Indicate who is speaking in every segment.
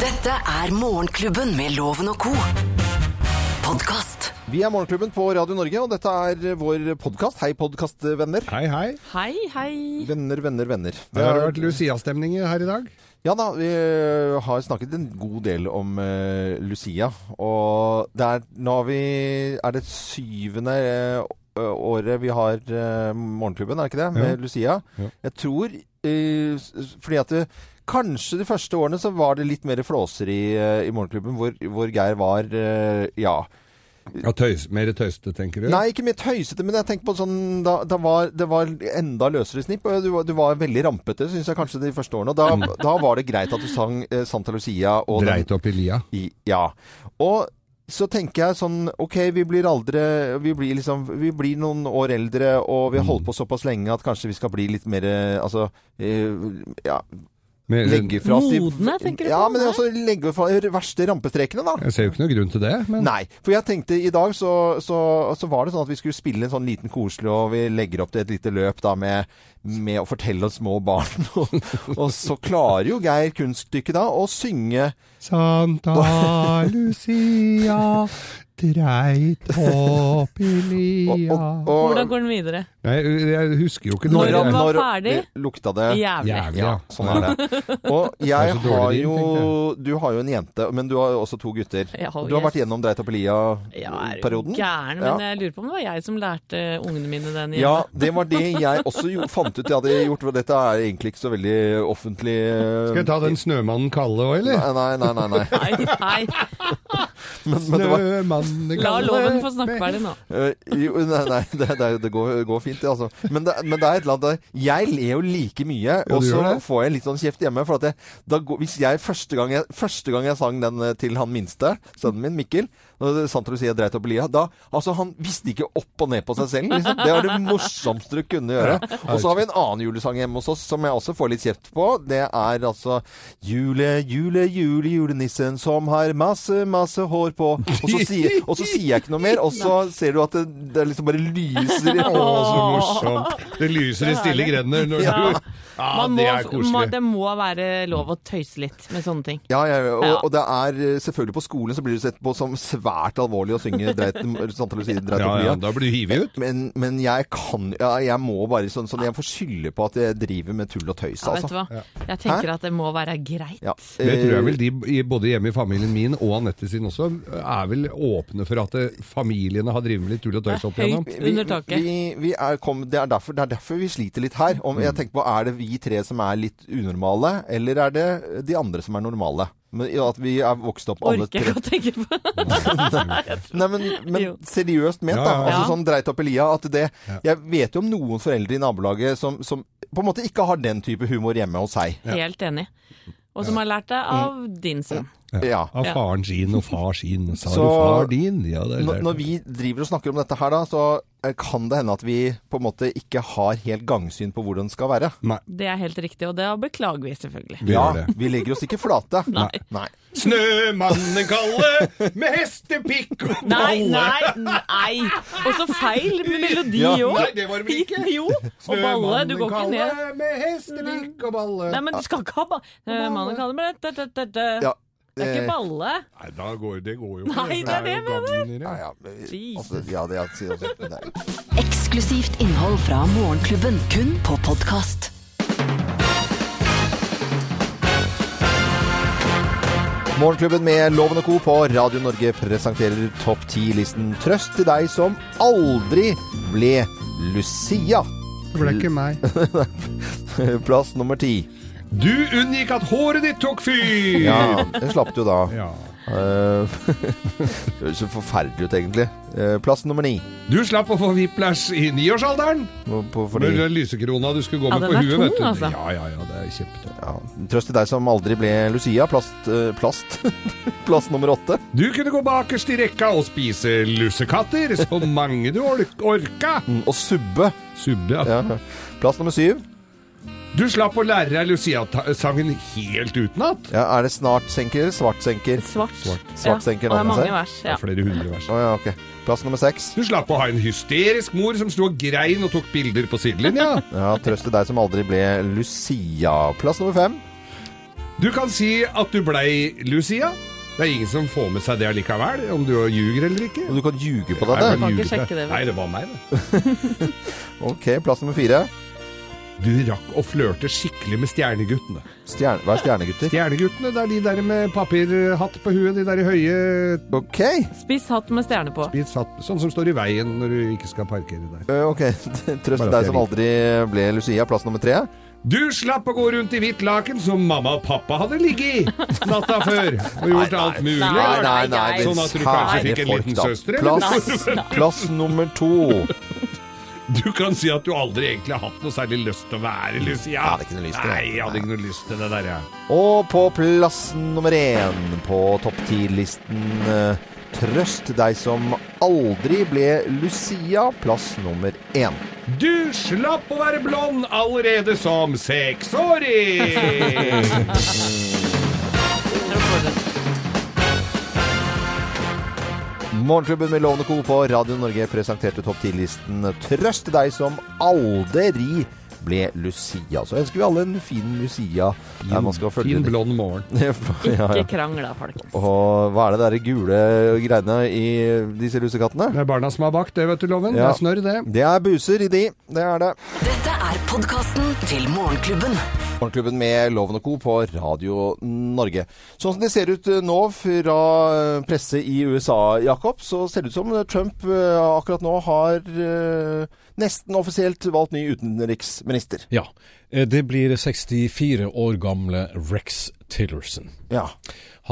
Speaker 1: Dette er Morgenklubben med Loven og Co. Podkast.
Speaker 2: Vi er Morgenklubben på Radio Norge, og dette er vår podkast. Hei, podkastvenner.
Speaker 3: Hei, hei.
Speaker 4: Hei, hei.
Speaker 2: Venner, venner, venner. Eh,
Speaker 3: Det har vært Lucia-stemning her i dag.
Speaker 2: Ja da, vi eh, har snakket en god del om eh, Lucia. Og det er, nå har vi, er det syvende eh, ø- året vi har eh, Morgenklubben, er det ikke det? Med Lucia.
Speaker 3: Ja.
Speaker 2: Jeg tror eh, s- s- Fordi at det, Kanskje de første årene så var det litt mer flåseri eh, i Morgenklubben, hvor, hvor Geir var eh, Ja.
Speaker 3: Ja, tøys, mer tøyste, tenker du?
Speaker 2: Nei, ikke mitt høysete, men jeg tenker på sånn da, da var, Det var enda løsere snipp. og Du, var- du var veldig rampete, syns jeg kanskje, de første årene. Og da,
Speaker 4: Mm.
Speaker 2: da var det greit at du sang eh, Santa Lucia og den-
Speaker 3: Dreit opp i lia.
Speaker 2: i, Ja. Og så tenker jeg sånn OK, vi blir aldre Vi blir liksom Vi blir noen år eldre, og vi har
Speaker 4: Mm.
Speaker 2: holdt på såpass lenge at kanskje vi skal bli litt mer eh, Altså eh, Ja,
Speaker 3: Men,
Speaker 2: legge fra oss de-
Speaker 4: Modne, tenker du
Speaker 2: Ja,
Speaker 4: på?
Speaker 2: men altså legge fra de verste rampestrekene, da.
Speaker 3: Jeg ser jo ikke noen grunn til det, men
Speaker 2: Nei, for jeg tenkte i dag så, så, så var det sånn at vi skulle spille en sånn liten koselig, og vi legger opp til et lite løp da med, med å fortelle om små barn. Og, og så klarer jo Geir kunststykket da å synge
Speaker 3: Santa Lucia dreit opp i
Speaker 2: og,
Speaker 3: lia
Speaker 2: og,
Speaker 4: Hvordan
Speaker 2: og,
Speaker 4: går den videre?
Speaker 3: Nei, jeg husker jo ikke
Speaker 4: Når
Speaker 3: jeg-
Speaker 4: han var
Speaker 2: det
Speaker 4: ferdig?
Speaker 2: lukta det
Speaker 4: Jævlig.
Speaker 3: Jævlig.
Speaker 2: Ja, sånn er det. Og jeg
Speaker 3: Det er så dårlig
Speaker 2: har
Speaker 3: rim,
Speaker 2: jo
Speaker 3: tenkte
Speaker 2: Du har jo en jente, men du har jo også to gutter.
Speaker 4: Ja,
Speaker 2: Og Du har
Speaker 4: yes.
Speaker 2: vært gjennom Dreit opp i
Speaker 4: Ja, er du
Speaker 2: lia-perioden.
Speaker 4: Gæren, men jeg lurer på om det var jeg som lærte ungene mine den igjen.
Speaker 2: Ja, det var det jeg også jo, fant ut jeg hadde gjort. for Dette er egentlig ikke så veldig offentlig. eh,
Speaker 3: Skal jeg ta den snømannen Kalle òg, eller?
Speaker 2: Nei, nei, nei. nei, nei.
Speaker 4: Nei, nei,
Speaker 2: Men, men det var,
Speaker 3: Snømannen
Speaker 4: la loven få snakke ferdig nå.
Speaker 2: øh, jo, nei, nei det, det, det går, går fint, det, altså. Men det, men det er et eller annet der Jeg ler jo like mye,
Speaker 3: Ja,
Speaker 2: og
Speaker 3: du
Speaker 2: så
Speaker 3: gjør det.
Speaker 2: får jeg litt sånn kjeft hjemme. For at jeg, da, går- hvis jeg første, gang jeg første gang jeg sang den eh, til han minste, sønnen min Mikkel og Santro sier jeg dreit opp i lia. Da, altså, han visste ikke opp og ned på seg selv. Liksom. Det var det morsomste du kunne gjøre. Og så har vi en annen julesang hjemme hos oss som jeg også får litt kjeft på. Det er altså Jule, jule, jule, julenissen som har masse, masse hår på. Og så sier, og så sier jeg ikke noe mer, og så ser du at det, det liksom bare lyser i
Speaker 3: Å, så morsomt. Det lyser i stille grender når
Speaker 4: Ja.
Speaker 3: du Ja,
Speaker 4: Man må,
Speaker 3: det er
Speaker 4: må,
Speaker 3: koselig.
Speaker 4: det må være lov å tøyse litt med sånne ting.
Speaker 2: Ja, ja, ja, og,
Speaker 4: Ja.
Speaker 2: og det er eh, selvfølgelig på skolen så blir du sett på som svært alvorlig å synge dreit, Santa Lucia dreit
Speaker 3: Ja,
Speaker 2: opp lia.
Speaker 3: ja, da blir du hivet ut.
Speaker 2: Men, men jeg kan ja, Jeg må bare sånn, sånn Jeg får skylde på at jeg driver med tull og tøys,
Speaker 4: Ja, vet du
Speaker 2: altså.
Speaker 4: hva? Jeg tenker at det må være greit.
Speaker 2: Ja.
Speaker 3: Det tror jeg
Speaker 2: eh,
Speaker 3: vel de i- både hjemme i familien min og Anette sin også er vel åpne for at eh, familiene har drevet med litt tull og tøys opp
Speaker 4: Det er
Speaker 3: igjennom.
Speaker 4: høyt. Under taket.
Speaker 2: eh, Vi, vi er kom, det, er derfor, det er derfor vi sliter litt her. Om,
Speaker 4: Mm.
Speaker 2: jeg tenker på, Er det vi tre som er litt unormale, eller er det de andre som er normale? Men, ja, at vi er vokst opp alle
Speaker 4: Orker
Speaker 2: tre.
Speaker 4: ikke å tenke på det.
Speaker 2: Nei, men, men
Speaker 4: Jo.
Speaker 2: seriøst ment,
Speaker 3: Ja,
Speaker 2: da.
Speaker 3: ja, ja.
Speaker 2: Altså sånn dreit opp i lia. At det, jeg vet jo om noen foreldre i nabolaget som, som på en måte ikke har den type humor hjemme hos seg.
Speaker 4: Helt enig. Og som har lært det av
Speaker 2: Mm.
Speaker 4: din sønn.
Speaker 2: Ja.
Speaker 3: Av
Speaker 4: Ja.
Speaker 3: faren sin og far sin. og Sa
Speaker 2: Så-
Speaker 3: du far din? Ja, det er
Speaker 2: Når,
Speaker 3: der.
Speaker 2: når vi driver og snakker om dette her, da, så eh, kan det hende at vi på en måte ikke har helt gangsyn på hvordan det skal være.
Speaker 3: Nei,
Speaker 4: Det er helt riktig, og det beklager vi selvfølgelig.
Speaker 3: vi
Speaker 2: Ja,
Speaker 3: gjør det.
Speaker 2: vi legger oss ikke flate.
Speaker 4: Nei.
Speaker 2: Nei.
Speaker 3: Snømannen Kalle med hestepikk og
Speaker 4: Nei,
Speaker 3: balle.
Speaker 4: nei, nei! Og så feil melodi
Speaker 2: Ja.
Speaker 4: òg.
Speaker 3: Nei, det var det vel ikke?
Speaker 4: Jo. Og balle. Du går ikke ned.
Speaker 3: med hestepikk og balle.
Speaker 4: Nei, men du skal ikke ha ba... Eh, Mannen kaller meg det. det, det, det.
Speaker 2: Ja,
Speaker 4: Det er
Speaker 2: eh,
Speaker 4: ikke balle.
Speaker 3: Nei, da går, det går jo ikke.
Speaker 4: Nei, det er det jeg
Speaker 3: mener.
Speaker 2: Ja, ja, men-
Speaker 4: Jesus.
Speaker 2: altså, ja, det er- sier jeg også. Nei.
Speaker 1: Eksklusivt innhold fra Morgenklubben, kun på podkast.
Speaker 2: Morgenklubben med Loven og Co. på Radio Norge presenterer topp 10-listen Trøst til deg som aldri ble Lucia.
Speaker 3: Det ble ikke meg.
Speaker 2: Plass nummer ti.
Speaker 3: Du unngikk at håret ditt tok fyr!
Speaker 2: Ja, det slapp du da.
Speaker 3: Ja.
Speaker 2: Eh, det høres så forferdelig ut, egentlig. Eh, Plass nummer ni.
Speaker 3: Du slapp å få whiplash i niårsalderen.
Speaker 2: På- på-
Speaker 3: Med
Speaker 2: Fordi,
Speaker 3: den lysekrona du skulle gå
Speaker 4: Ja,
Speaker 3: med
Speaker 4: den
Speaker 3: på
Speaker 4: er
Speaker 3: huet,
Speaker 4: tung,
Speaker 3: vet du.
Speaker 4: altså.
Speaker 3: Ja, ja, ja, det er kjempetøft.
Speaker 2: ja. Trøst til deg som aldri ble Lucia. Plast, eh, plast. Plass nummer åtte.
Speaker 3: Du kunne gå bakerst i rekka og spise lussekatter, så mange du ork orka.
Speaker 2: Mm, Og subbe.
Speaker 3: Subbe, ja.
Speaker 2: Ja. Plass nummer syv.
Speaker 3: Du slapp å lære deg Lucia-sangen helt utenat.
Speaker 2: Ja, er det snartsenker? Svartsenker?
Speaker 4: Svart.
Speaker 2: Svartsenker
Speaker 4: Ja, og det er
Speaker 2: navnet
Speaker 4: mange
Speaker 2: seg.
Speaker 4: vers.
Speaker 3: Det
Speaker 4: Ja.
Speaker 3: er Flere hundre vers.
Speaker 2: Å ja, ok. Plass nummer seks.
Speaker 3: Du slapp å ha en hysterisk mor som sto og grein og tok bilder på sidelinja.
Speaker 2: Ja, Trøst til deg som aldri ble Lucia. Plass nummer fem.
Speaker 3: Du kan si at du blei Lucia. Det er ingen som får med seg det allikevel, om du ljuger eller ikke.
Speaker 2: Og du kan ljuge på
Speaker 3: Nei,
Speaker 2: dette.
Speaker 4: kan ikke
Speaker 3: ljuger
Speaker 4: sjekke det, vel?
Speaker 3: Nei, det var meg, det.
Speaker 2: Ok, plass nummer fire.
Speaker 3: Du rakk å flørte skikkelig med stjerneguttene.
Speaker 2: Stjerne, hva er stjernegutter?
Speaker 3: Stjerneguttene, det er de der med papirhatt på huet, de der i høye
Speaker 2: Ok. Eh,
Speaker 4: Spiss hatt med stjerne på.
Speaker 3: bit satt, sånn som står i veien når du ikke skal parkere der.
Speaker 2: Ø, ok, Trøst
Speaker 3: Bare at
Speaker 2: deg
Speaker 3: jeg
Speaker 2: som aldri ble Lucia. Plass nummer tre.
Speaker 3: Du slapp å gå rundt i hvitt laken som mamma og pappa hadde ligget i natta før og gjort alt mulig.
Speaker 4: Nei, nei, nei,
Speaker 2: men
Speaker 3: sånn at du
Speaker 2: kjære
Speaker 3: kanskje fikk en
Speaker 2: folk,
Speaker 3: liten
Speaker 2: da.
Speaker 3: søster, eller?
Speaker 2: Plass, plass nummer to.
Speaker 3: Du kan si at du aldri egentlig har hatt noe særlig lyst til å være Lucia. Jeg
Speaker 2: hadde ikke noe lyst til det.
Speaker 3: Nei, jeg hadde ikke noe lyst til det der, jeg.
Speaker 2: Og på plass nummer én på topp ti-listen ø, Trøst deg som aldri ble Lucia. Plass nummer én.
Speaker 3: Du slapp å være blond allerede som seksåring!
Speaker 2: Morgenklubben med Lovende Co. på Radio Norge presenterte topp 10-listen Trøst deg som aldri ble Lucia. Så ønsker vi alle en fin Lucia. der man skal følge
Speaker 3: Fin
Speaker 2: det.
Speaker 3: blond morgen.
Speaker 2: ja, ja.
Speaker 4: Ikke krangl da, folkens.
Speaker 2: Og hva er det der gule greiene i disse lussekattene?
Speaker 3: Det er barna som har bakt det, vet du, Loven.
Speaker 2: Ja.
Speaker 3: Det er snørr, det.
Speaker 2: Det er buser i de, det er det.
Speaker 1: Dette er podkasten til Morgenklubben.
Speaker 2: Morgenklubben med Loven og Co. på Radio Norge. Sånn som det ser ut nå fra eh, presse i USA, Jakob, så ser det ut som Trump eh, akkurat nå har eh, nesten offisielt valgt ny utenriksminister.
Speaker 5: Ja. eh, Det blir 64 år gamle Rex Tillerson.
Speaker 2: Ja.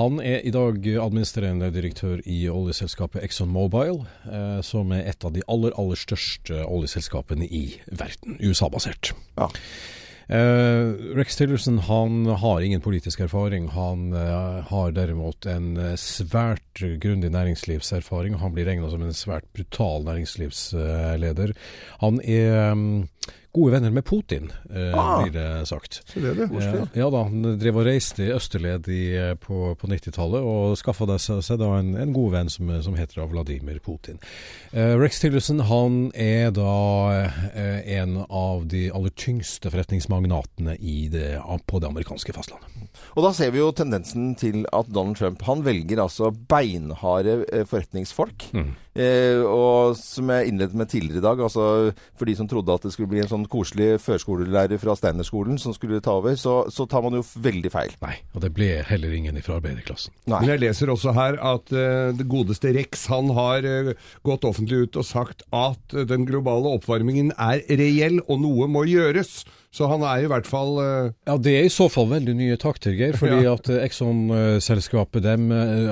Speaker 5: Han er i dag administrerende direktør i oljeselskapet ExxonMobil, eh, som er et av de aller, aller største oljeselskapene i verden, USA-basert.
Speaker 2: Ja.
Speaker 5: Eh, Rex Tillerson han har ingen politisk erfaring. Han eh, har derimot en eh, svært grundig næringslivserfaring. Han blir regna som en svært brutal næringslivsleder. Han er mm, gode venner med Putin, eh,
Speaker 2: Ah.
Speaker 5: blir det sagt. Eh,
Speaker 3: Se det, du.
Speaker 5: Ja, ja da, han drev og reiste i østerled i, eh, på, på 90-tallet og skaffa deg seg, seg da en, en god venn som, som heter da Vladimir Putin. Eh, Rex Tillerson han er da eh, en av de aller tyngste forretningsmagnatene i det, på det amerikanske fastlandet.
Speaker 2: Og da ser vi jo tendensen til at Donald Trump han velger altså beinharde eh, forretningsfolk. Eh, og som jeg innledet med tidligere i dag, altså for de som trodde at det skulle bli en sånn koselig førskolelærer fra Steinerskolen som skulle ta over, så, så tar man jo veldig feil.
Speaker 5: Nei, og det ble heller ingen fra arbeiderklassen.
Speaker 2: Nei.
Speaker 3: Men jeg leser også her at eh, det godeste Rex han har eh, gått offentlig ut og sagt at eh, den globale oppvarmingen er reell, og noe må gjøres. Så han er i hvert fall eh,
Speaker 5: Ja, Det er i så fall veldig nye takter, Geir. fordi at eh, Exxon-selskapet dem eh,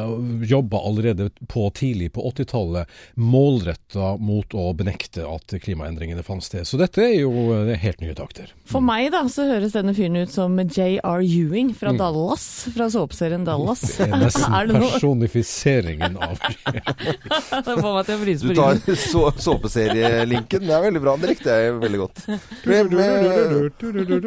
Speaker 5: jobba allerede på tidlig på 80-tallet målretta mot å benekte at klimaendringene fant sted. Så dette er jo eh, helt nye takter.
Speaker 4: For meg da, så høres denne fyren ut som J.R. Ewing fra
Speaker 2: Mm.
Speaker 4: Dallas, fra såpeserien Dallas.
Speaker 5: Det er nesten
Speaker 4: Er det noe?
Speaker 5: personifiseringen av
Speaker 4: Det får meg til å fryse
Speaker 2: Du
Speaker 4: på
Speaker 2: tar
Speaker 4: ryggen.
Speaker 2: så, såpeserielinken. Det er veldig bra. Det likte jeg veldig godt. Men, eh,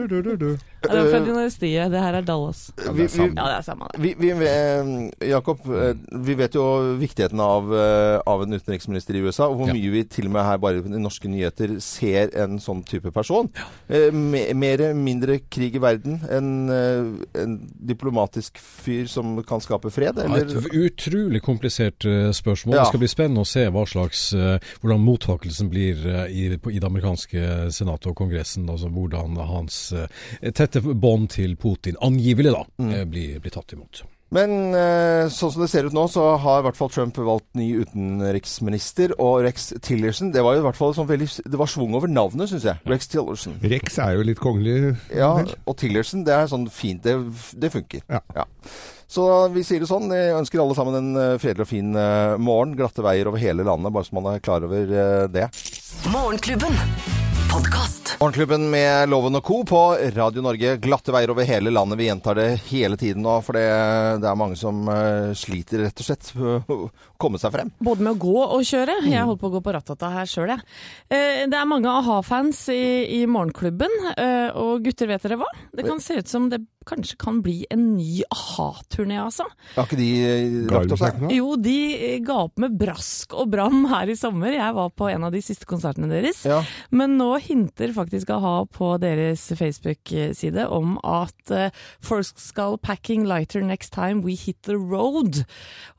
Speaker 4: Jeg er født i Norestiet, det her er Dallas.
Speaker 2: eh, vi, vi,
Speaker 4: Ja, det er samme det.
Speaker 2: vi, vi, eh, Jakob, eh, vi vet jo viktigheten av, eh, av en utenriksminister i USA, og hvor
Speaker 5: Ja.
Speaker 2: mye vi til og med her bare i norske nyheter ser en sånn type person. Eh, me- Mere, mindre krig i verden enn eh, en diplomatisk fyr som kan skape fred,
Speaker 5: et
Speaker 2: eller?
Speaker 5: utrolig komplisert eh, spørsmål.
Speaker 2: Ja.
Speaker 5: Det skal bli spennende å se hva slags, eh, hvordan mottakelsen blir eh, i, på, i det amerikanske senatet og kongressen. Altså hvordan hans eh, tette bånd til Putin, angivelig da, eh, blir, blir tatt imot.
Speaker 2: Men eh, sånn som det ser ut nå, så har i hvert fall Trump valgt ny utenriksminister. Og Rex Tillerson Det var jo i hvert fall sånn veldig Det var schwung over navnet, syns jeg. Rex Tillerson.
Speaker 3: Rex er jo litt kongelig.
Speaker 2: Ja,
Speaker 3: vel?
Speaker 2: og Tillerson, det er sånn fint Det, det funker.
Speaker 3: Ja.
Speaker 2: Så vi sier det sånn. Jeg ønsker alle sammen en eh, fredelig og fin eh, morgen. Glatte veier over hele landet, bare så man er klar over eh, det.
Speaker 1: Morgenklubben. Podkast.
Speaker 2: Morgenklubben med Loven og Co. på Radio Norge. Glatte veier over hele landet. Vi gjentar det hele tiden nå, for det, det er mange som eh, sliter, rett og slett, med å komme seg frem.
Speaker 4: Både med å gå og kjøre. Jeg holdt på å gå på rattata her sjøl, jeg. Eh, Det er mange a-ha-fans i, i morgenklubben, eh, og gutter, vet dere hva? Det kan se ut som det kanskje kan bli en ny aha-turné, altså.
Speaker 2: Har ikke de eh, lagt opp der?
Speaker 3: Garderobesnakken, da?
Speaker 4: Jo, de eh, ga opp med brask og bram her i sommer. Jeg var på en av de siste konsertene deres.
Speaker 2: Ja.
Speaker 4: Men nå hinter faktisk a-ha på deres Facebook-side om at eh, folk skal packing lighter next time we hit the road.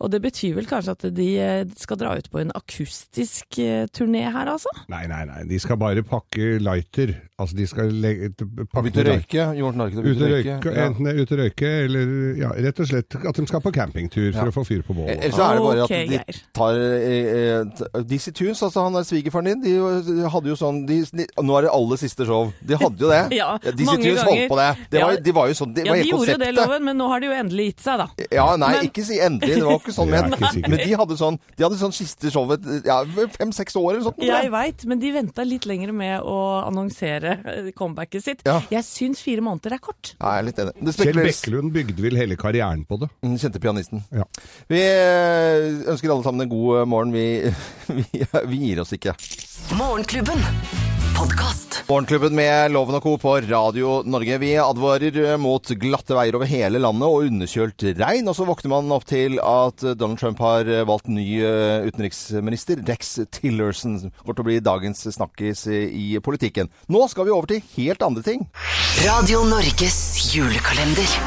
Speaker 4: Og det betyr vel kanskje at de eh, skal dra ut på en akustisk eh, turné her, altså?
Speaker 3: Nei, nei, nei. De skal bare pakke lighter. Altså, de skal legge, pakke
Speaker 2: Begynte å
Speaker 3: lighter.
Speaker 2: røyke? Johansen Arken
Speaker 3: Ut
Speaker 2: begynte
Speaker 3: og
Speaker 2: å
Speaker 3: røyke,
Speaker 2: røyke. Ja.
Speaker 3: Enten det er ut og røyke, eller ja, rett og slett at de skal på campingtur for å få fyr på bålet.
Speaker 2: Eh, Ellers så er det bare
Speaker 4: Ok,
Speaker 2: at de
Speaker 4: Geir.
Speaker 2: tar eh, eh, Dizzie Tunes, altså han der svigerfaren din, de eh, hadde jo sånn de, de, Nå er det aller siste show. De hadde jo det.
Speaker 4: Ja,
Speaker 2: Dizzie
Speaker 4: mange
Speaker 2: Tunes holdt
Speaker 4: ganger.
Speaker 2: på det. det var,
Speaker 4: Ja.
Speaker 2: de var jo sånn, det
Speaker 4: Ja,
Speaker 2: var
Speaker 4: de
Speaker 2: hele
Speaker 4: gjorde jo det,
Speaker 2: konseptet.
Speaker 4: loven, men nå har de jo endelig gitt seg, da.
Speaker 2: Ja, nei,
Speaker 4: Men-
Speaker 2: ikke si endelig. Det var jo ikke sånn
Speaker 3: Det er
Speaker 2: ment.
Speaker 3: ikke sikkert.
Speaker 2: Men de hadde sånn De hadde sånn siste showet ja, fem-seks år eller sånt.
Speaker 4: Jeg veit, men de venta litt lenger med å annonsere eh, comebacket sitt.
Speaker 2: Ja.
Speaker 4: Jeg syns fire måneder er kort.
Speaker 2: Nei, jeg er litt enig. Det
Speaker 3: Kjell
Speaker 2: spekuleres.
Speaker 3: Bekkelund bygde vel hele karrieren på det.
Speaker 2: Den kjente pianisten.
Speaker 3: Ja.
Speaker 2: Vi eh, ønsker alle sammen en god eh, morgen. Vi, vi, vi gir oss ikke.
Speaker 1: Morgenklubben. Podkast.
Speaker 2: Morgenklubben med Loven og Co. på Radio Norge. Vi advarer eh, mot glatte veier over hele landet og underkjølt regn. Og så våkner man opp til at eh, Donald Trump har valgt ny eh, utenriksminister. Rex Tillerson går til å bli dagens snakkis i politikken. Nå skal vi over til helt andre ting.
Speaker 1: Radio Norges julekalender.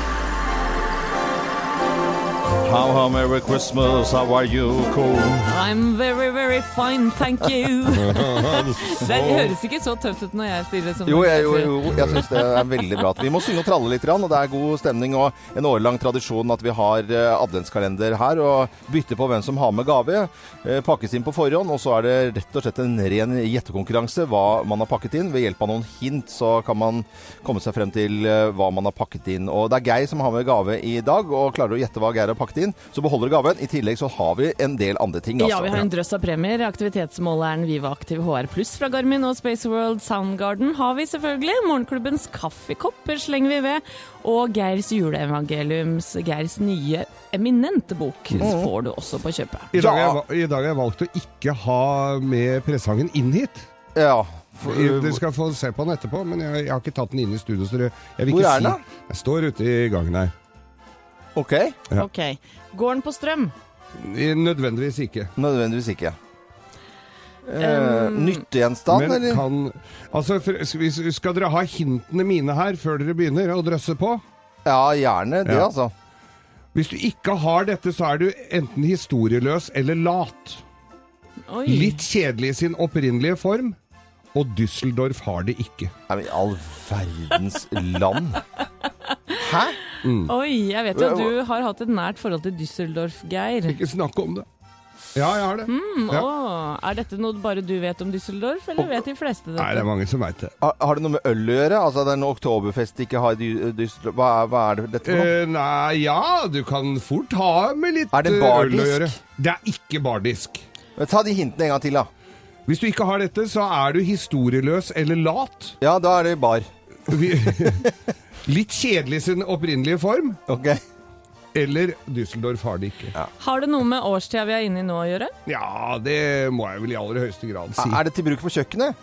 Speaker 2: How, how, merry Christmas, how are you, Co?
Speaker 4: I'm very, very fine, thank you. det høres ikke så tøft ut når jeg stiller som
Speaker 2: Jo, jeg, jo, jo, jeg syns det er veldig bra. at Vi må synge og tralle litt, grann, og det er god stemning og en årelang tradisjon at vi har eh, adventskalender her og bytter på hvem som har med gave. eh, Pakkes inn på forhånd, og så er det rett og slett en ren gjettekonkurranse hva man har pakket inn. Ved hjelp av noen hint så kan man komme seg frem til eh, hva man har pakket inn. Og det er Geir som har med gave i dag, og klarer du å gjette hva Geir har pakket inn, så beholder du gaven. I tillegg så har vi en del andre ting, altså.
Speaker 4: Ja, vi har en drøss av premier. Aktivitetsmåleren Viva Aktiv HR Pluss fra Garmin og Space World Soundgarden har vi selvfølgelig. Morgenklubbens kaffekopper slenger vi ved. Og Geirs juleevangeliums, Geirs nye eminente bok,
Speaker 2: Mm.
Speaker 4: får du også på kjøpet.
Speaker 3: I dag
Speaker 2: Ja.
Speaker 3: har jeg va- i dag har jeg valgt å ikke ha med presangen inn hit.
Speaker 2: Ja.
Speaker 3: Dere skal få se på den etterpå, men jeg, jeg har ikke tatt den inn i studio. Så dere- jeg vil
Speaker 2: Hvor
Speaker 3: ikke
Speaker 2: er den da?
Speaker 3: si Jeg står ute i gangen her.
Speaker 2: OK.
Speaker 3: Ja.
Speaker 4: Ok. Går den på strøm?
Speaker 3: Nødvendigvis ikke.
Speaker 2: Nødvendigvis ikke. Eh, Nyttegjenstand,
Speaker 3: Men
Speaker 2: eller?
Speaker 3: kan Altså, for- skal vi- skal dere ha hintene mine her før dere begynner å drøsse på?
Speaker 2: Ja, gjerne det,
Speaker 3: Ja.
Speaker 2: altså.
Speaker 3: Hvis du ikke har dette, så er du enten historieløs eller lat.
Speaker 4: Oi.
Speaker 3: Litt kjedelig i sin opprinnelige form, og Düsseldorf har det ikke.
Speaker 2: Nei, men i all verdens land. Hæ?
Speaker 4: Oi, jeg vet jo at du har hatt et nært forhold til Düsseldorf, Geir.
Speaker 3: Ikke snakk om det. Ja, jeg har det. ja.
Speaker 4: Åh, er dette noe bare du vet om Düsseldorf, eller vet de fleste dette?
Speaker 3: Nei, det er mange som veit det.
Speaker 2: Har, har det noe med øl å gjøre? Altså, det er noe oktoberfest de ikke har i Dy- Düsseldorf hva, er- hva er det dette for noe?
Speaker 3: Eh, nei, ja, du kan fort ha med litt
Speaker 2: Er det
Speaker 3: eh,
Speaker 2: bardisk?
Speaker 3: Det er ikke bardisk.
Speaker 2: Men Ta de hintene en gang til, da.
Speaker 3: Hvis du ikke har dette, så er du historieløs eller lat.
Speaker 2: Ja, da er det bar.
Speaker 3: Vi- Litt kjedelig i sin opprinnelige form,
Speaker 2: Ok.
Speaker 3: eller Düsseldorf har det ikke.
Speaker 4: Har det noe med årstida vi er inne i nå å gjøre?
Speaker 3: Ja, det må jeg vel i aller høyeste grad si.
Speaker 2: Er det til bruk på kjøkkenet?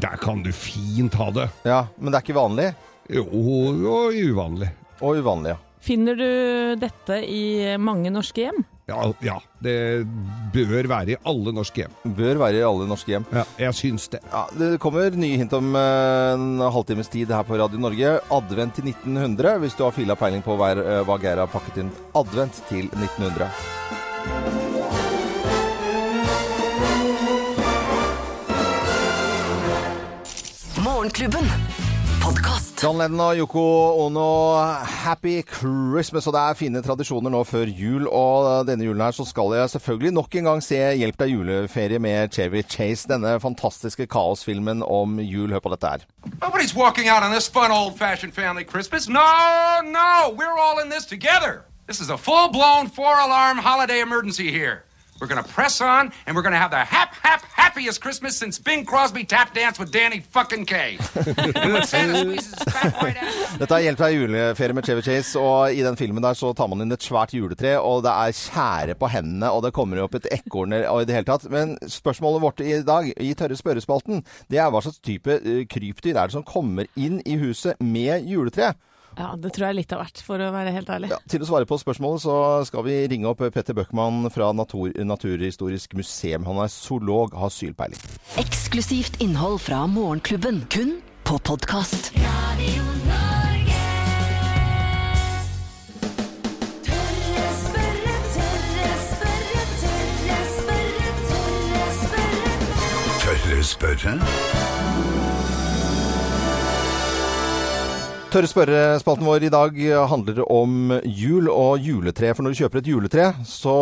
Speaker 3: Der kan du fint ha det.
Speaker 2: Ja, men det er ikke vanlig.
Speaker 3: Jo, og uvanlig.
Speaker 2: Og uvanlig, ja.
Speaker 4: Finner du dette i mange norske hjem?
Speaker 3: Ja, ja, det bør være i alle norske hjem.
Speaker 2: Bør være i alle norske hjem.
Speaker 3: Ja, jeg syns det.
Speaker 2: Ja, Det kommer nye hint om eh, en halvtimes tid her på Radio Norge. Advent til 1900, hvis du har filla peiling på hver, eh, hva Geir har pakket inn. Advent til 1900.
Speaker 1: Morgenklubben. Podkast.
Speaker 2: John Lennon og Yoko Ono, happy Christmas. Og det er fine tradisjoner nå før jul. Og denne julen her så skal jeg selvfølgelig nok en gang se Hjelp deg juleferie med Chevy Chase. Denne fantastiske kaosfilmen om jul. Hør på dette her.
Speaker 6: Nobody's walking out on this fun, old fashioned family Christmas. No, no, we're all in this together. This is a full blown four alarm holiday emergency here. We're going to press on, and we're going to have the hap, hap, happiest Christmas since Bing Crosby tap danced with Danny fucking Kaye. And when Santa squeezes his fat white ass.
Speaker 2: Dette er Hjelp deg juleferie med Chevy Chase, og i den filmen der så tar man inn et svært juletre, og det er tjære på hendene, og det kommer opp et ekorn og i det hele tatt. Men spørsmålet vårt i dag, i tørre spørrespalten, det er hva slags type eh, krypdyr er det som kommer inn i huset med juletre?
Speaker 4: Ja, det tror jeg er litt av hvert, for å være helt ærlig.
Speaker 2: Ja, til å svare på spørsmålet så skal vi ringe opp Petter Bøckmann fra Natur Naturhistorisk museum. Han er zoolog, har sylpeiling.
Speaker 1: Eksklusivt innhold fra Morgenklubben, kun på podkast.
Speaker 7: Radio Norge. Tørre spørre, tørre spørre, tørre spørre, tørre spørre.
Speaker 8: Tørre spørre?
Speaker 2: Tørre spørrespalten vår i dag handler om jul og juletre. For når du kjøper et juletre, så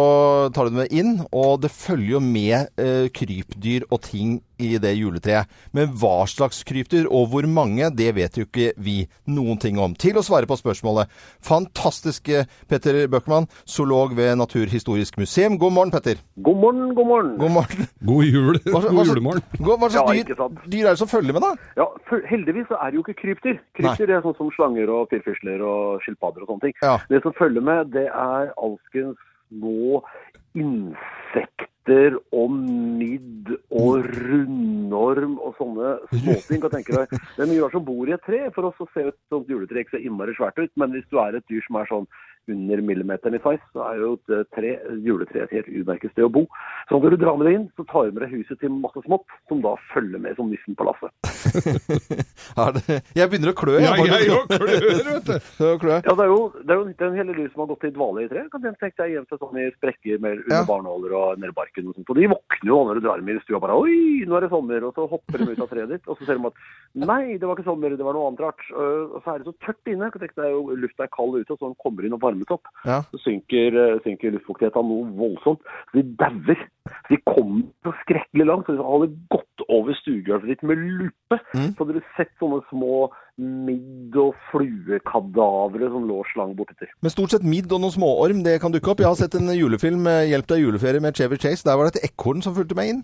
Speaker 2: tar du det med inn, og det følger jo med eh, krypdyr og ting i det juletreet. Men hva slags krypdyr og hvor mange, det vet jo ikke vi noen ting om. Til å svare på spørsmålet, fantastiske Petter Bøckmann, zoolog ved Naturhistorisk museum. God morgen, Petter.
Speaker 9: God morgen, god morgen.
Speaker 2: God morgen.
Speaker 3: God jul.
Speaker 2: Hva,
Speaker 3: God julemorgen.
Speaker 2: hva, hva
Speaker 9: Ja,
Speaker 2: slags
Speaker 9: ikke
Speaker 2: dyr,
Speaker 9: sant.
Speaker 2: dyr er det som følger med, da?
Speaker 9: Ja, for, heldigvis så er det jo ikke krypdyr. Krypdyr er sånn som slanger og firfisler og skilpadder og sånne ting.
Speaker 2: Ja.
Speaker 9: Det som følger med, det er alskens små insekter og midd og rundorm og sånne småting. Kan jeg tenke deg. Det er mye rart som bor i et tre. For oss så ser et sånt juletre ikke så innmari svært ut, men hvis du er et dyr som er sånn under millimeteren i size, så er jo et eh, tre, juletre et helt utmerket sted å bo. Så når du drar med det inn, så tar du med deg huset til masse smått, som da følger med som nissen på lasset.
Speaker 2: Er det, jeg begynner å klø.
Speaker 3: Ja,
Speaker 2: faktisk.
Speaker 3: jeg òg klør, vet du.
Speaker 2: Begynner å klø.
Speaker 9: Ja, det er jo, det er jo den hele lyset som har gått i dvale i tre. Kan den tenke deg gjemt seg sånn i sprekker med, under
Speaker 2: Ja.
Speaker 9: barnåler og nede i barken og sånt. Og de våkner jo når du drar dem i stua bare Oi, nå er det sommer! Og så hopper de ut av treet ditt. Og så ser de at nei, det var ikke sommer, det var noe annet rart. Øh, Og så er det så tørt inne. Kan tenke deg jo lufta er kald ute, og så når den kommer inn og varmes opp,
Speaker 2: Ja.
Speaker 9: så synker, øh, synker luftfuktigheten noe voldsomt. Så de dauer. De kommer så skrekkelig langt. Så de holder godt over stuegulvet ditt med lupe.
Speaker 2: Mm.
Speaker 9: Så hadde du sett sånne små midd- og fluekadavere som lå slang bortetter.
Speaker 2: Men stort sett midd og noen småorm, det kan dukke opp. Jeg har sett en julefilm, eh, 'Hjelp deg juleferie' med Chevy Chase. Der var det et ekorn som fulgte meg inn.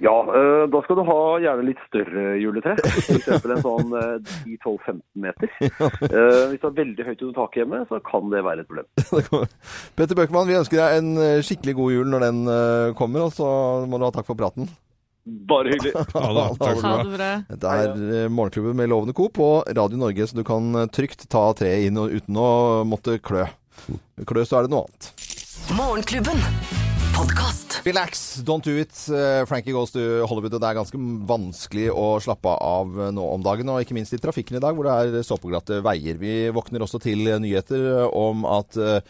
Speaker 9: Ja, eh, da skal du ha gjerne litt større juletre. F.eks. en sånn eh, 10-12-15 meter. Eh, Hvis det er veldig høyt under taket hjemme, så kan det være et problem.
Speaker 2: Det kommer- Petter Bøckmann, vi ønsker deg en eh, skikkelig god jul når den eh, kommer, og så må du ha takk for praten.
Speaker 9: Bare hyggelig.
Speaker 3: Ja da, takk skal
Speaker 4: Ha
Speaker 3: du ha.
Speaker 4: det bra.
Speaker 2: Dette er eh, Morgenklubben med Lovende Co. på Radio Norge, så du kan eh, trygt ta treet inn og uten å måtte klø. Klø, så er det noe annet.
Speaker 1: Morgenklubben. Podkast.
Speaker 2: Relax, don't do it. Eh, Frankie goes to Hollywood. og Det er ganske vanskelig å slappe av eh, nå om dagen, og ikke minst i trafikken i dag, hvor det er såpeglatte veier. Vi våkner også til eh, nyheter eh, om at eh,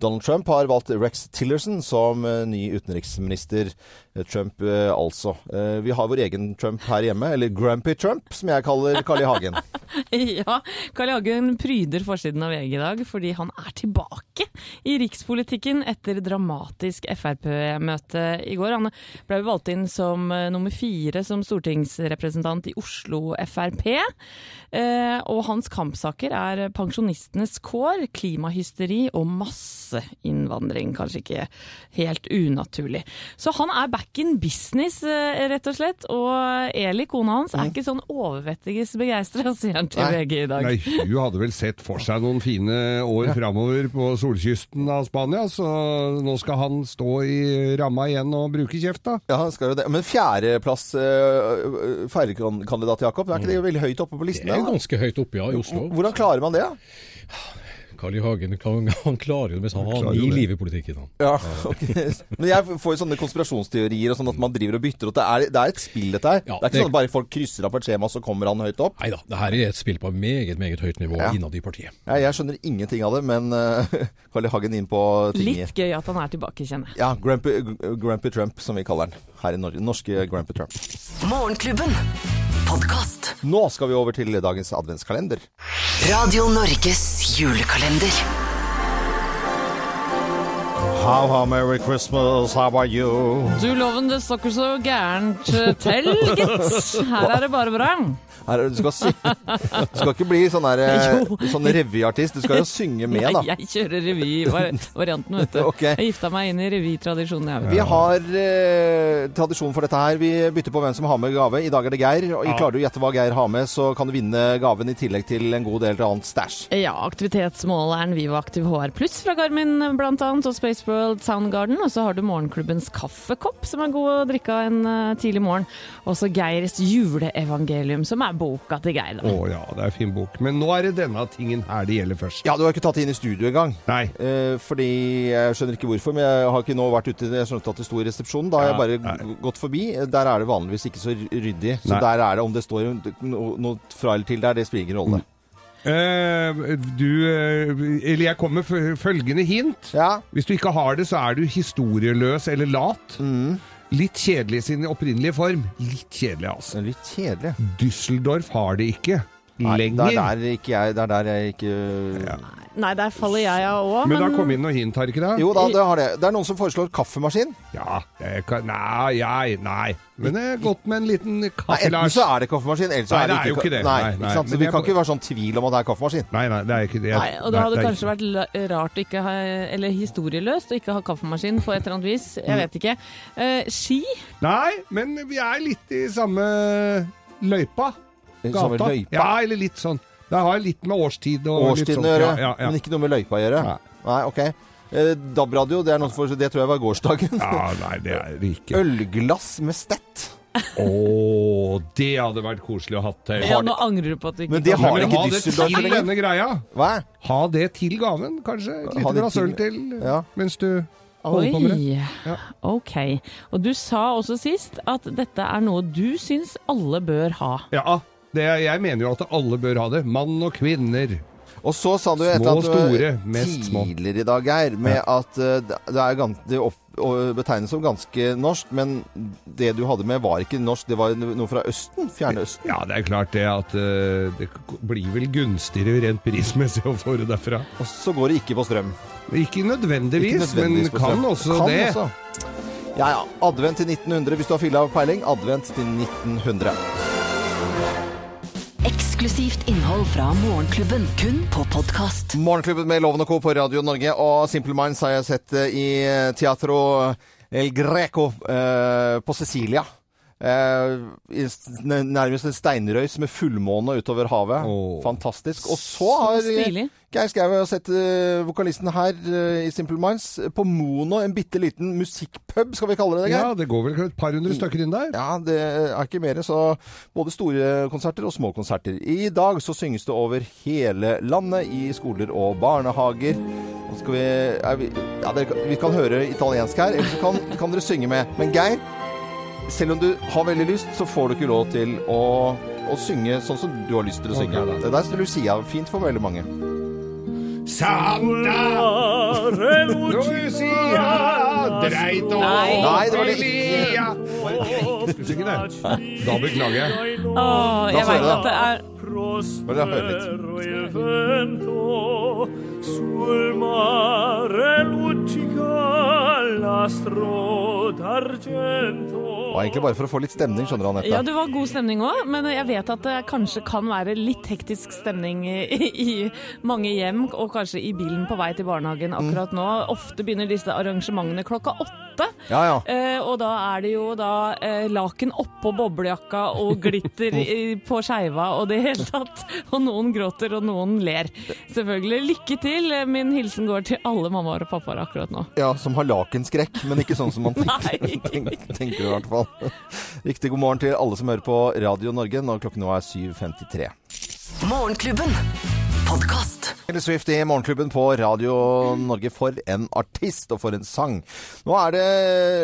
Speaker 2: Donald Trump har valgt Rex Tillerson som eh, ny utenriksminister. Eh, Trump eh, altså. Eh, Vi har vår egen Trump her hjemme, eller Grumpy Trump, som jeg kaller Carl I. Hagen.
Speaker 4: Ja, Carl I. Hagen pryder forsiden av VG i dag fordi han er tilbake i rikspolitikken etter dramatisk Frp-møte i går. Han ble jo valgt inn som eh, nummer fire som stortingsrepresentant i Oslo Frp. Eh, og hans kampsaker er pensjonistenes kår, klimahysteri og masseinnvandring. Kanskje ikke helt unaturlig. Så han er back in business, eh, rett og slett. Og Eli, kona hans, er ikke sånn overvettiges begeistra, sier han til
Speaker 2: Mm. Nei.
Speaker 4: VG i dag.
Speaker 3: Nei, hun hadde vel sett for seg noen fine år framover på solkysten av Spania, så nå skal han stå i ramma igjen og bruke kjefta.
Speaker 2: Ja, skal jo det. Men fjerdeplass eh, feirekandidat, Jakob, er ikke det veldig høyt oppe på
Speaker 5: Det er
Speaker 2: listen? da?
Speaker 5: ganske høyt oppe, ja, i Oslo.
Speaker 2: Hvordan klarer man det? da?
Speaker 5: Carl I. Hagen klar- han klarer jo det meste. Han har
Speaker 3: klarer jo
Speaker 5: ni
Speaker 3: det.
Speaker 5: liv i politikken, han.
Speaker 2: Ja, ok. Men jeg får jo sånne konspirasjonsteorier og sånn at man driver og bytter. Og det er, det er et spill, dette her.
Speaker 5: Ja,
Speaker 2: det er ikke
Speaker 5: det-
Speaker 2: sånn at bare folk krysser av på et skjema, så kommer han høyt opp.
Speaker 5: Nei da, det her er et spill på meget, meget høyt nivå
Speaker 2: Ja.
Speaker 5: innad i partiet.
Speaker 2: Jeg, jeg skjønner ingenting av det, men uh, Carl I. Hagen inn på tinget.
Speaker 4: Litt gøy at han er tilbake, kjenner jeg.
Speaker 2: Ja, Grumpy, Grumpy Trump, som vi kaller den her i Norge. Norske Grumpy Trump.
Speaker 1: Morgenklubben. Podkast.
Speaker 2: Nå skal vi over til dagens adventskalender.
Speaker 1: Radio Norges julekalender.
Speaker 2: How, how, merry Christmas, how are you?
Speaker 4: Du loven, det står ikke så gærent eh, til, gitt. Her er det bare bra.
Speaker 2: Her, er det- du, skal sy du skal ikke bli sånn, der, eh,
Speaker 4: Jo.
Speaker 2: sånn revyartist, du skal jo synge med, da.
Speaker 4: Nei, jeg kjører revyvarianten, vet du.
Speaker 2: Ok.
Speaker 4: Jeg gifta meg inn i revytradisjonen, jeg. vet du.
Speaker 2: Vi har eh, tradisjon for dette her. Vi bytter på hvem som har med gave. I dag er det Geir. og Klarer du å gjette hva Geir har med, så kan du vinne gaven i tillegg til en god del til annet stæsj.
Speaker 4: Ja, aktivitetsmåleren Viva Aktiv HR Pluss fra Garmin blant annet, og Space World Soundgarden. Og så har du morgenklubbens kaffekopp, som er god å drikke av en eh, tidlig morgen. Og så Geirs juleevangelium, som er er boka til Geir, da.
Speaker 3: Å ja, det er fin bok. Men nå er det denne tingen her det gjelder først.
Speaker 2: Ja, du har ikke tatt det inn i studio engang.
Speaker 3: Nei.
Speaker 2: Eh, fordi Jeg skjønner ikke hvorfor, men jeg har ikke nå vært ute Jeg skjønte at det sto i resepsjonen. Da har jeg bare
Speaker 3: nei.
Speaker 2: g- gått forbi. Der er det vanligvis ikke så ryddig. Så
Speaker 3: Nei.
Speaker 2: der er det om det står no- noe fra eller til der, det spiller ingen
Speaker 3: Mm.
Speaker 2: rolle.
Speaker 3: Eh, du eh, Eller jeg kommer med følgende hint.
Speaker 2: Ja.
Speaker 3: Hvis du ikke har det, så er du historieløs eller lat.
Speaker 2: Mm.
Speaker 3: Litt kjedelig i sin opprinnelige form. Litt kjedelig,
Speaker 2: Det
Speaker 3: altså.
Speaker 2: er litt kjedelig.
Speaker 3: Düsseldorf har det ikke
Speaker 2: Nei,
Speaker 3: lenger.
Speaker 2: det er der ikke jeg, det er der jeg ikke
Speaker 4: Nei, der faller jeg av òg,
Speaker 3: Men
Speaker 4: men
Speaker 3: det har kommet inn noe hint, har det ikke det?
Speaker 2: Jo da, det har det. Det er noen som foreslår kaffemaskin.
Speaker 3: Ja, jeg kan, nei, jeg, nei. Men det er godt med en liten
Speaker 2: Nei,
Speaker 3: kaffe,
Speaker 2: enten
Speaker 3: Lars.
Speaker 2: så er det kaffemaskin, eller så
Speaker 3: Nei,
Speaker 2: er det
Speaker 3: det er jo
Speaker 2: ikke
Speaker 3: ikke det.
Speaker 2: Nei,
Speaker 3: Nei, nei,
Speaker 2: ikke sant?
Speaker 3: men
Speaker 2: Så vi
Speaker 3: jeg-
Speaker 2: kan ikke være sånn tvil om at det er kaffemaskin.
Speaker 3: Nei, nei, det er ikke det.
Speaker 4: Nei, og det hadde
Speaker 3: er
Speaker 4: kanskje vært la- rart å ikke ha, eller historieløst å ikke ha kaffemaskin på et eller annet vis.
Speaker 3: Mm.
Speaker 4: Jeg vet ikke. Eh, ski?
Speaker 3: ikke- Nei, men vi er litt i samme løypa.
Speaker 2: I
Speaker 3: Gata.
Speaker 2: samme løypa.
Speaker 3: Ja, eller litt sånn. Det har litt med årstid og litt
Speaker 2: Årstiden
Speaker 3: sånn.
Speaker 2: å gjøre,
Speaker 3: Ja, ja,
Speaker 2: men
Speaker 3: ja.
Speaker 2: ikke noe med løypa å gjøre.
Speaker 3: Nei.
Speaker 2: Nei, ok. Eh, DAB-radio, det, er noe for- det tror jeg var gårsdagen.
Speaker 3: ja, nei, det er det ikke.
Speaker 2: Ølglass med stett.
Speaker 3: Å, det hadde vært koselig å ha til.
Speaker 4: Ja, nå angrer du på at du ikke
Speaker 2: Men det
Speaker 4: kan-
Speaker 2: har
Speaker 3: Men
Speaker 2: ikke
Speaker 3: ha det
Speaker 2: Düsseldorf
Speaker 3: til
Speaker 2: lenger.
Speaker 3: denne greia.
Speaker 2: Hva?
Speaker 3: Ha det til gaven, kanskje. Et
Speaker 2: Ha
Speaker 3: lite
Speaker 2: det
Speaker 3: glass
Speaker 2: til-
Speaker 3: øl til
Speaker 2: Ja.
Speaker 3: mens du holder på med det.
Speaker 4: Oi. Ok. Og du sa også sist at dette er noe du syns alle bør ha.
Speaker 3: Ja, det, er- jeg mener jo at alle bør ha det. Mann og kvinner.
Speaker 2: Og så sa du et
Speaker 3: Små
Speaker 2: eller annet
Speaker 3: og
Speaker 2: eh,
Speaker 3: store, mest små.
Speaker 2: tidligere i dag, Geir, med at eh, det er gans- det opp, og betegnes som ganske norsk, men det du hadde med var ikke norsk, det var noe fra Østen? Fjernøsten?
Speaker 3: Ja, det er klart det at eh, det k- blir vel gunstigere rent prismessig å få det derfra.
Speaker 2: Og så går det ikke på strøm.
Speaker 3: Ikke nødvendigvis,
Speaker 2: Ikke nødvendigvis
Speaker 3: men
Speaker 2: på
Speaker 3: kan
Speaker 2: strøm.
Speaker 3: også
Speaker 2: Kan
Speaker 3: det.
Speaker 2: også. Ja, ja. Advent til 1900 hvis du har fylla av peiling. Advent til 1900.
Speaker 1: Eksklusivt innhold fra Morgenklubben, kun på podkast.
Speaker 2: Morgenklubben med Loven og Co. på Radio Norge, og Simple Minds har jeg sett eh, i Teatro El Greco eh, på Sicilia. Eh, i s- n- nærmest en steinrøys med fullmåne utover havet.
Speaker 3: Åh.
Speaker 2: Fantastisk. Og så har eh,
Speaker 4: stilig.
Speaker 2: Geir Skau og jeg sett eh, vokalisten her eh, i Simple Minds eh, på Mono, en bitte liten musikkpub, skal vi kalle det det, Geir?
Speaker 3: Ja, det går vel et par hundre stykker inn der.
Speaker 2: Ja, det er ikke mer, så både store konserter og små konserter. I dag så synges det over hele landet, i skoler og barnehager. Nå skal vi, er vi, ja, dere, kan- vi kan høre italiensk her, eller så kan, kan dere synge med. Men Geir, selv om du har veldig lyst, så får du ikke lov til å, å synge sånn som du har lyst til å synge.
Speaker 3: Ok, da.
Speaker 2: det der står Lucia fint for veldig mange.
Speaker 3: Santa Lucia dreit
Speaker 4: Nei.
Speaker 2: Nei, det var det
Speaker 3: Elia. Skulle synge det. Da beklager jeg.
Speaker 4: Åh, jeg
Speaker 2: La oss høre
Speaker 4: vet at det er
Speaker 2: Bare la høre litt.
Speaker 8: sul mare luccica l'astro d'argento
Speaker 2: Det var egentlig bare for å få litt stemning, skjønner du, Anette.
Speaker 4: Ja, det var god stemning òg, men jeg vet at det kanskje kan være litt hektisk stemning i, i mange hjem, og kanskje i bilen på vei til barnehagen akkurat nå. Ofte begynner disse arrangementene klokka åtte.
Speaker 2: Ja, ja.
Speaker 4: Eh, og da er det jo da eh, laken oppå boblejakka og glitter i, på skeiva og det hele tatt. Og noen gråter og noen ler. Selvfølgelig. Lykke til! Min hilsen går til alle mammaer og pappaer akkurat nå.
Speaker 2: Ja, som har lakenskrekk, men ikke sånn som man tenker,
Speaker 4: Nei.
Speaker 2: tenker, tenker i hvert fall. Riktig god morgen til alle som hører på Radio Norge når klokken nå er 7.53.
Speaker 1: Morgenklubben. Podkast.
Speaker 2: Taylor Swift i Morgenklubben på Radio Norge. For en artist, og for en sang. Nå er det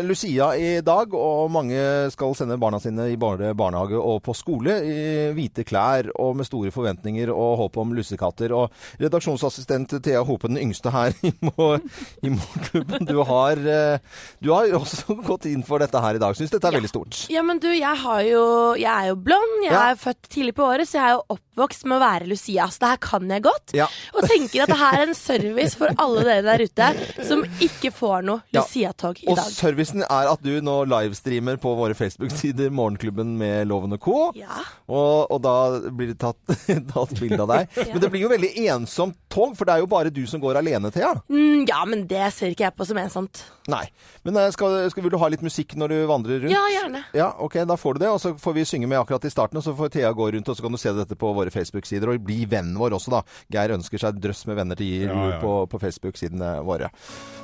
Speaker 2: Lucia i dag, og mange skal sende barna sine i bare barnehage og på skole i hvite klær og med store forventninger og håp om lussekatter. Og redaksjonsassistent Thea Hopen, den yngste her i, mor i Morgenklubben, du har, eh, du har også gått inn for dette her i dag. Syns dette er veldig stort.
Speaker 10: Ja, men du, jeg, har jo, jeg er jo blond, jeg
Speaker 2: Ja.
Speaker 10: er født tidlig på året, så jeg er jo oppvokst med å være Lucia. Så det her kan jeg godt.
Speaker 2: Ja.
Speaker 10: Og tenker at det her er en service for alle dere der ute som ikke får noe
Speaker 2: Ja.
Speaker 10: Lucia-tog i
Speaker 2: Og
Speaker 10: dag.
Speaker 2: servicen er at du nå livestreamer på våre Facebook-sider Morgenklubben med Loven og co.
Speaker 10: Ja.
Speaker 2: Og, og da blir det tatt, tatt bilde av deg. Men det blir jo veldig ensomt tog, for det er jo bare du som går alene, Thea.
Speaker 10: Mm, ja, men det ser ikke jeg på som ensomt.
Speaker 2: Nei. Men eh, skal, skal, vil du ha litt musikk når du vandrer rundt?
Speaker 10: Ja, gjerne.
Speaker 2: Ja, ok, da får du det. Og så får vi synge med akkurat i starten, og så får Thea gå rundt, og så kan du se dette på våre Facebook-sider. Og bli vennen vår også, da. Geir ønsker seg drøss med venner til jul
Speaker 3: Ja, ja.
Speaker 2: på, på Facebook-sidene våre.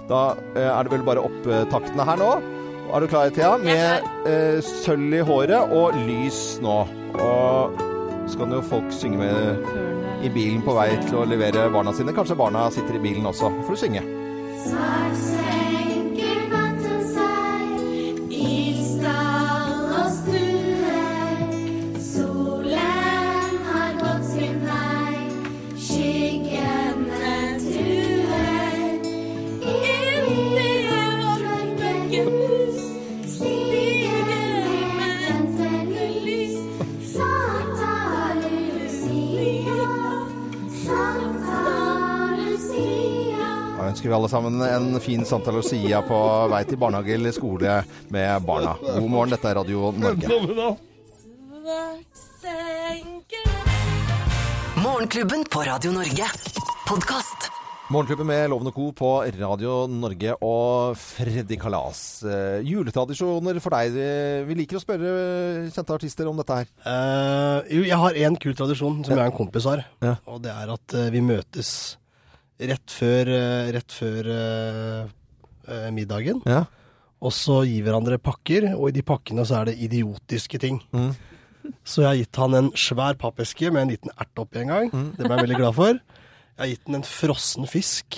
Speaker 2: Da eh, er det vel bare opptaktene her nå. Er du klar, Thea? Med eh, sølv i håret og lys nå. Og Så kan jo folk synge med
Speaker 4: Tørne-
Speaker 2: i bilen på vei til å levere barna sine. Kanskje barna sitter i bilen også for å synge.
Speaker 7: Snart senker natten seg i stall og stue. Solen har gått sin vei, skyggene truer. Inni mørket hus stiger med tente lys. Santa Lucia, Santa Lucia.
Speaker 2: Da ønsker vi alle sammen en fin Santa Lucia på vei til barnehage eller skole med barna. God morgen, dette er Radio Norge.
Speaker 1: Morgenklubben på Radio Norge. Podkast.
Speaker 2: Morgenklubben med Loven og Co. på Radio Norge og Freddy Kalas. Eh, juletradisjoner for deg. Eh, Vi liker å spørre eh, kjente artister om dette her.
Speaker 9: Eh, jo, jeg har en kul tradisjon som jeg og en kompis har.
Speaker 2: Ja.
Speaker 9: Og det er at eh, vi møtes rett før, eh, rett før eh, eh, middagen.
Speaker 2: Ja.
Speaker 9: Og så gir hverandre pakker, og i de pakkene så er det idiotiske ting.
Speaker 2: Mhm.
Speaker 9: Så jeg har gitt han en svær pappeske med en liten ert oppi en gang. Det ble jeg veldig glad for. Jeg har gitt han en frossen fisk.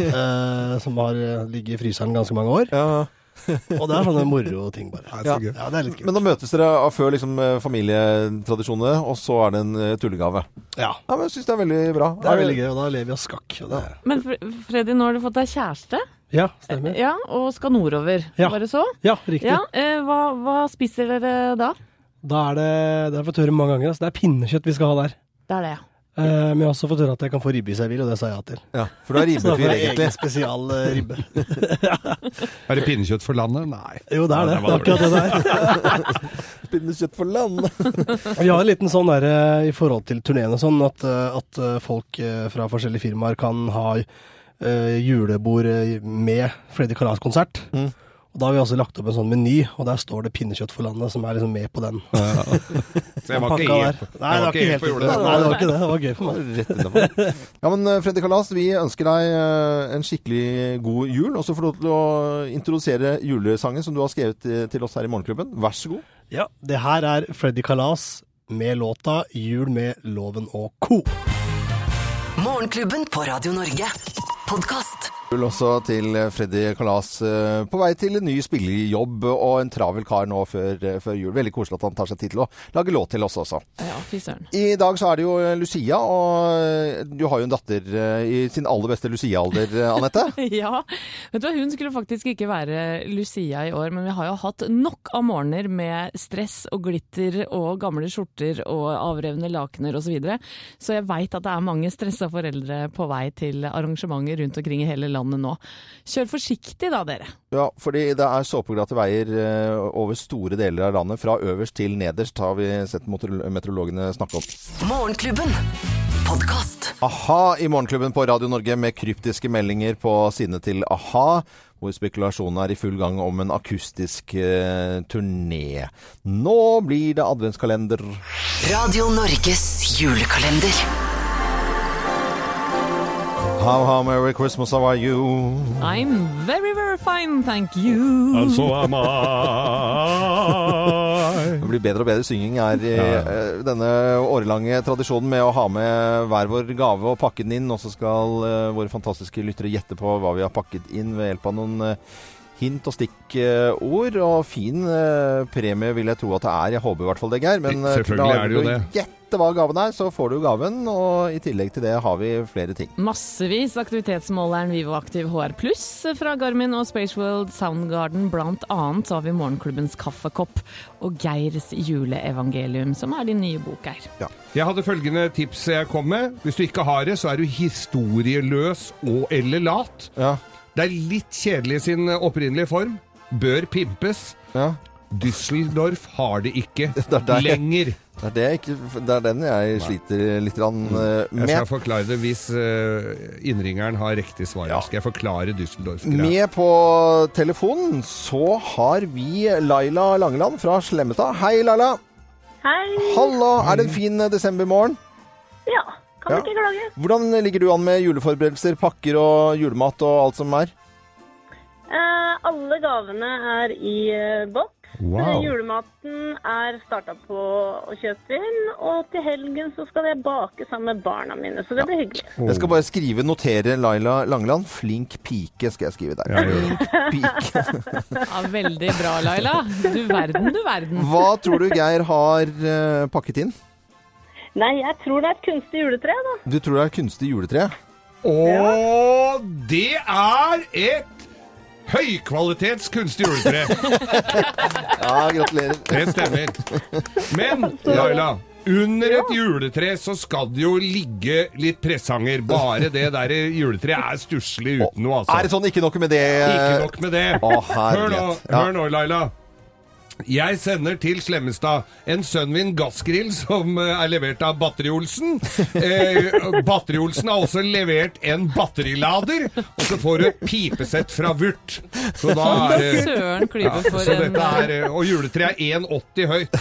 Speaker 9: eh, som har eh, ligget i fryseren ganske mange år. Og det er sånne moro ting, bare.
Speaker 3: Det er så gøy.
Speaker 9: Ja, det er litt gøy.
Speaker 2: Men da møtes dere av før liksom, eh, familietradisjonene, og så er det en eh, tullegave.
Speaker 9: Ja,
Speaker 2: Ja, men Jeg syns det er veldig bra.
Speaker 9: det er veldig gøy, og da lever vi av skakk. Og det er
Speaker 4: Men Fre- Freddy, nå har du fått deg kjæreste
Speaker 9: Ja, stemmer.
Speaker 4: ja, og skal nordover.
Speaker 9: Ja.
Speaker 4: Bare så.
Speaker 9: Ja, riktig.
Speaker 4: Ja, eh, hva, hva spiser dere da?
Speaker 9: Da er det, det har jeg fått høre mange ganger. Altså. Det er pinnekjøtt vi skal ha der.
Speaker 4: Det er det, ja.
Speaker 9: Eh, men jeg har også fått høre at jeg kan få ribbe hvis jeg vil, og det sa jeg ja til.
Speaker 2: Ja, for du er
Speaker 9: Så da får
Speaker 2: ribbefyr,
Speaker 9: jeg
Speaker 2: egentlig.
Speaker 9: egen spesial eh, ribbe.
Speaker 3: Er det pinnekjøtt for landet? Nei.
Speaker 9: Jo, det er
Speaker 3: Ja, det
Speaker 9: det. Det er
Speaker 3: var
Speaker 9: akkurat det der.
Speaker 2: Pinnekjøtt for land.
Speaker 9: Vi har en liten sånn derre i forhold til turneen og sånn, at, eh, at eh, folk eh, fra forskjellige firmaer kan ha eh, julebord eh, med Freddy Kalas-konsert.
Speaker 2: Mm.
Speaker 9: Og Da har vi også lagt opp en sånn meny, og der står det 'Pinnekjøtt for landet', som er liksom med på den.
Speaker 3: Så jeg var ikke
Speaker 9: pakka
Speaker 3: helt
Speaker 9: der. Nei, det var ikke helt
Speaker 3: på jordet.
Speaker 9: Nei, det var ikke det. Det var gøy for meg.
Speaker 2: Rett innenfor. Ja, men eh, Freddy Kalas, vi ønsker deg eh, en skikkelig god jul. Og så får du lov til å introdusere julesangen som du har skrevet eh, til oss her i Morgenklubben. Vær så god.
Speaker 9: Ja, det her er Freddy Kalas med låta 'Jul med Loven og co'.
Speaker 1: Morgenklubben på Radio Norge. Podkast.
Speaker 2: Jul også til eh, Freddy Kalas eh, på vei til en ny spillejobb og en travel kar nå før, eh, før jul. Veldig koselig at han tar seg tid til å lage låt til oss også.
Speaker 4: Ja, fy søren.
Speaker 2: I dag så er det jo eh, Lucia, og eh, du har jo en datter eh, i sin aller beste Lucia-alder, eh, Anette.
Speaker 4: Ja, vet du hva, hun skulle faktisk ikke være Lucia i år, men vi har jo hatt nok av morgener med stress og glitter og gamle skjorter og avrevne lakener osv. Så, videre. så jeg veit at det er mange stressa foreldre på vei til arrangementer rundt omkring i hele landet nå. Kjør forsiktig da, dere.
Speaker 2: Ja, fordi det er såpeglatte veier eh, over store deler av landet. Fra øverst til nederst har vi sett motor- meteorologene snakke om.
Speaker 1: Morgenklubben. Podkast.
Speaker 2: A-ha i Morgenklubben på Radio Norge med kryptiske meldinger på sidene til a-ha, hvor spekulasjonen er i full gang om en akustisk eh, turné. Nå blir det adventskalender.
Speaker 1: Radio Norges julekalender.
Speaker 2: How, how, merry Christmas, how are you?
Speaker 4: I'm very, very fine, thank you.
Speaker 3: Altså am I
Speaker 2: Det blir bedre og bedre synging her i eh, denne årelange tradisjonen med å ha med hver vår gave og pakke den inn. Og så skal eh, våre fantastiske lyttere gjette på hva vi har pakket inn ved hjelp av noen eh, hint og stikkord. Og fin eh, premie vil jeg tro at det er. Jeg håper i hvert fall det, Geir. Men eh,
Speaker 3: Selvfølgelig er det jo
Speaker 2: du
Speaker 3: det.
Speaker 2: å gjette hva gaven er, så får du gaven. Og i tillegg til det har vi flere ting.
Speaker 4: Massevis. Aktivitetsmåleren Vivo Aktiv HR Pluss fra Garmin og Spaceworld Soundgarden. Blant annet så har vi Morgenklubbens kaffekopp og Geirs juleevangelium, som er din nye bok, Geir.
Speaker 3: Jeg hadde følgende tips jeg kom med. Hvis du ikke har det, så er du historieløs og eller lat.
Speaker 2: Ja,
Speaker 3: Det er litt kjedelig i sin opprinnelige form. Bør pimpes.
Speaker 2: ja.
Speaker 3: Düsseldorf har det ikke
Speaker 2: er der.
Speaker 3: lenger.
Speaker 2: Det er, det, jeg ikke, det er den jeg sliter litt grann, eh,
Speaker 3: Mm. Jeg
Speaker 2: med.
Speaker 3: skal forklare det hvis eh, innringeren har riktig svar.
Speaker 2: Ja.
Speaker 3: Skal jeg forklare Düsseldorf-greia.
Speaker 2: Med på telefonen så har vi Laila Langeland fra Slemmestad. Hei, Laila.
Speaker 7: Hei.
Speaker 2: Halla. Er det en fin eh, desembermorgen?
Speaker 7: Ja, kan
Speaker 2: Ja.
Speaker 7: ikke klage.
Speaker 2: Hvordan ligger du an med juleforberedelser, pakker og julemat og alt som er?
Speaker 7: Eh, alle gavene er i eh, boks, Men Julematen er starta på å kjøpe inn, og til helgen så skal jeg bake sammen med barna mine, så det blir hyggelig.
Speaker 2: Jeg skal bare skrive, notere Laila Langeland. 'Flink pike' skal jeg skrive der.
Speaker 7: Ja, gjør
Speaker 4: Ja, veldig bra, Laila. Du verden, du verden.
Speaker 2: Hva tror du Geir har eh, pakket inn?
Speaker 7: Nei, jeg tror det er et kunstig juletre, da.
Speaker 2: Du tror det er kunstig juletre?
Speaker 3: Og det er et høykvalitets kunstig juletre.
Speaker 2: ja, gratulerer.
Speaker 3: Det stemmer. Men Laila, under et juletre så skal det jo ligge litt presanger. Bare det der juletreet er stusslig uten noe, altså.
Speaker 2: Er det sånn? Ikke nok med det.
Speaker 3: Ikke nok med det.
Speaker 2: Å,
Speaker 3: hør, nå,
Speaker 2: herlighet. Ja.
Speaker 3: hør nå, Laila. Jeg sender til Slemmestad en Sunwin gassgrill som eh, er levert av Batteri-Olsen. Eh, Batteri-Olsen har også levert en batterilader, og så får du et pipesett fra Vurt. Så da er det
Speaker 4: Søren klyve for
Speaker 3: så
Speaker 4: en-
Speaker 3: dette er, eh, Og juletreet er 1,80 høyt.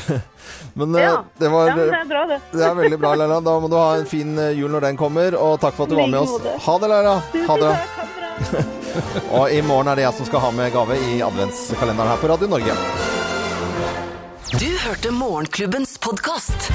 Speaker 2: Men eh, det var
Speaker 7: Ja, men det er bra, det.
Speaker 2: Det er veldig bra, Laila. Da må du ha en fin eh, jul når den kommer, og takk for at du var med oss.
Speaker 7: Like
Speaker 2: Ha det, Laila. Ha det. Og i morgen er det jeg som skal ha med gave i adventskalenderen her på Radio Norge.
Speaker 1: Du hørte Morgenklubbens podkast.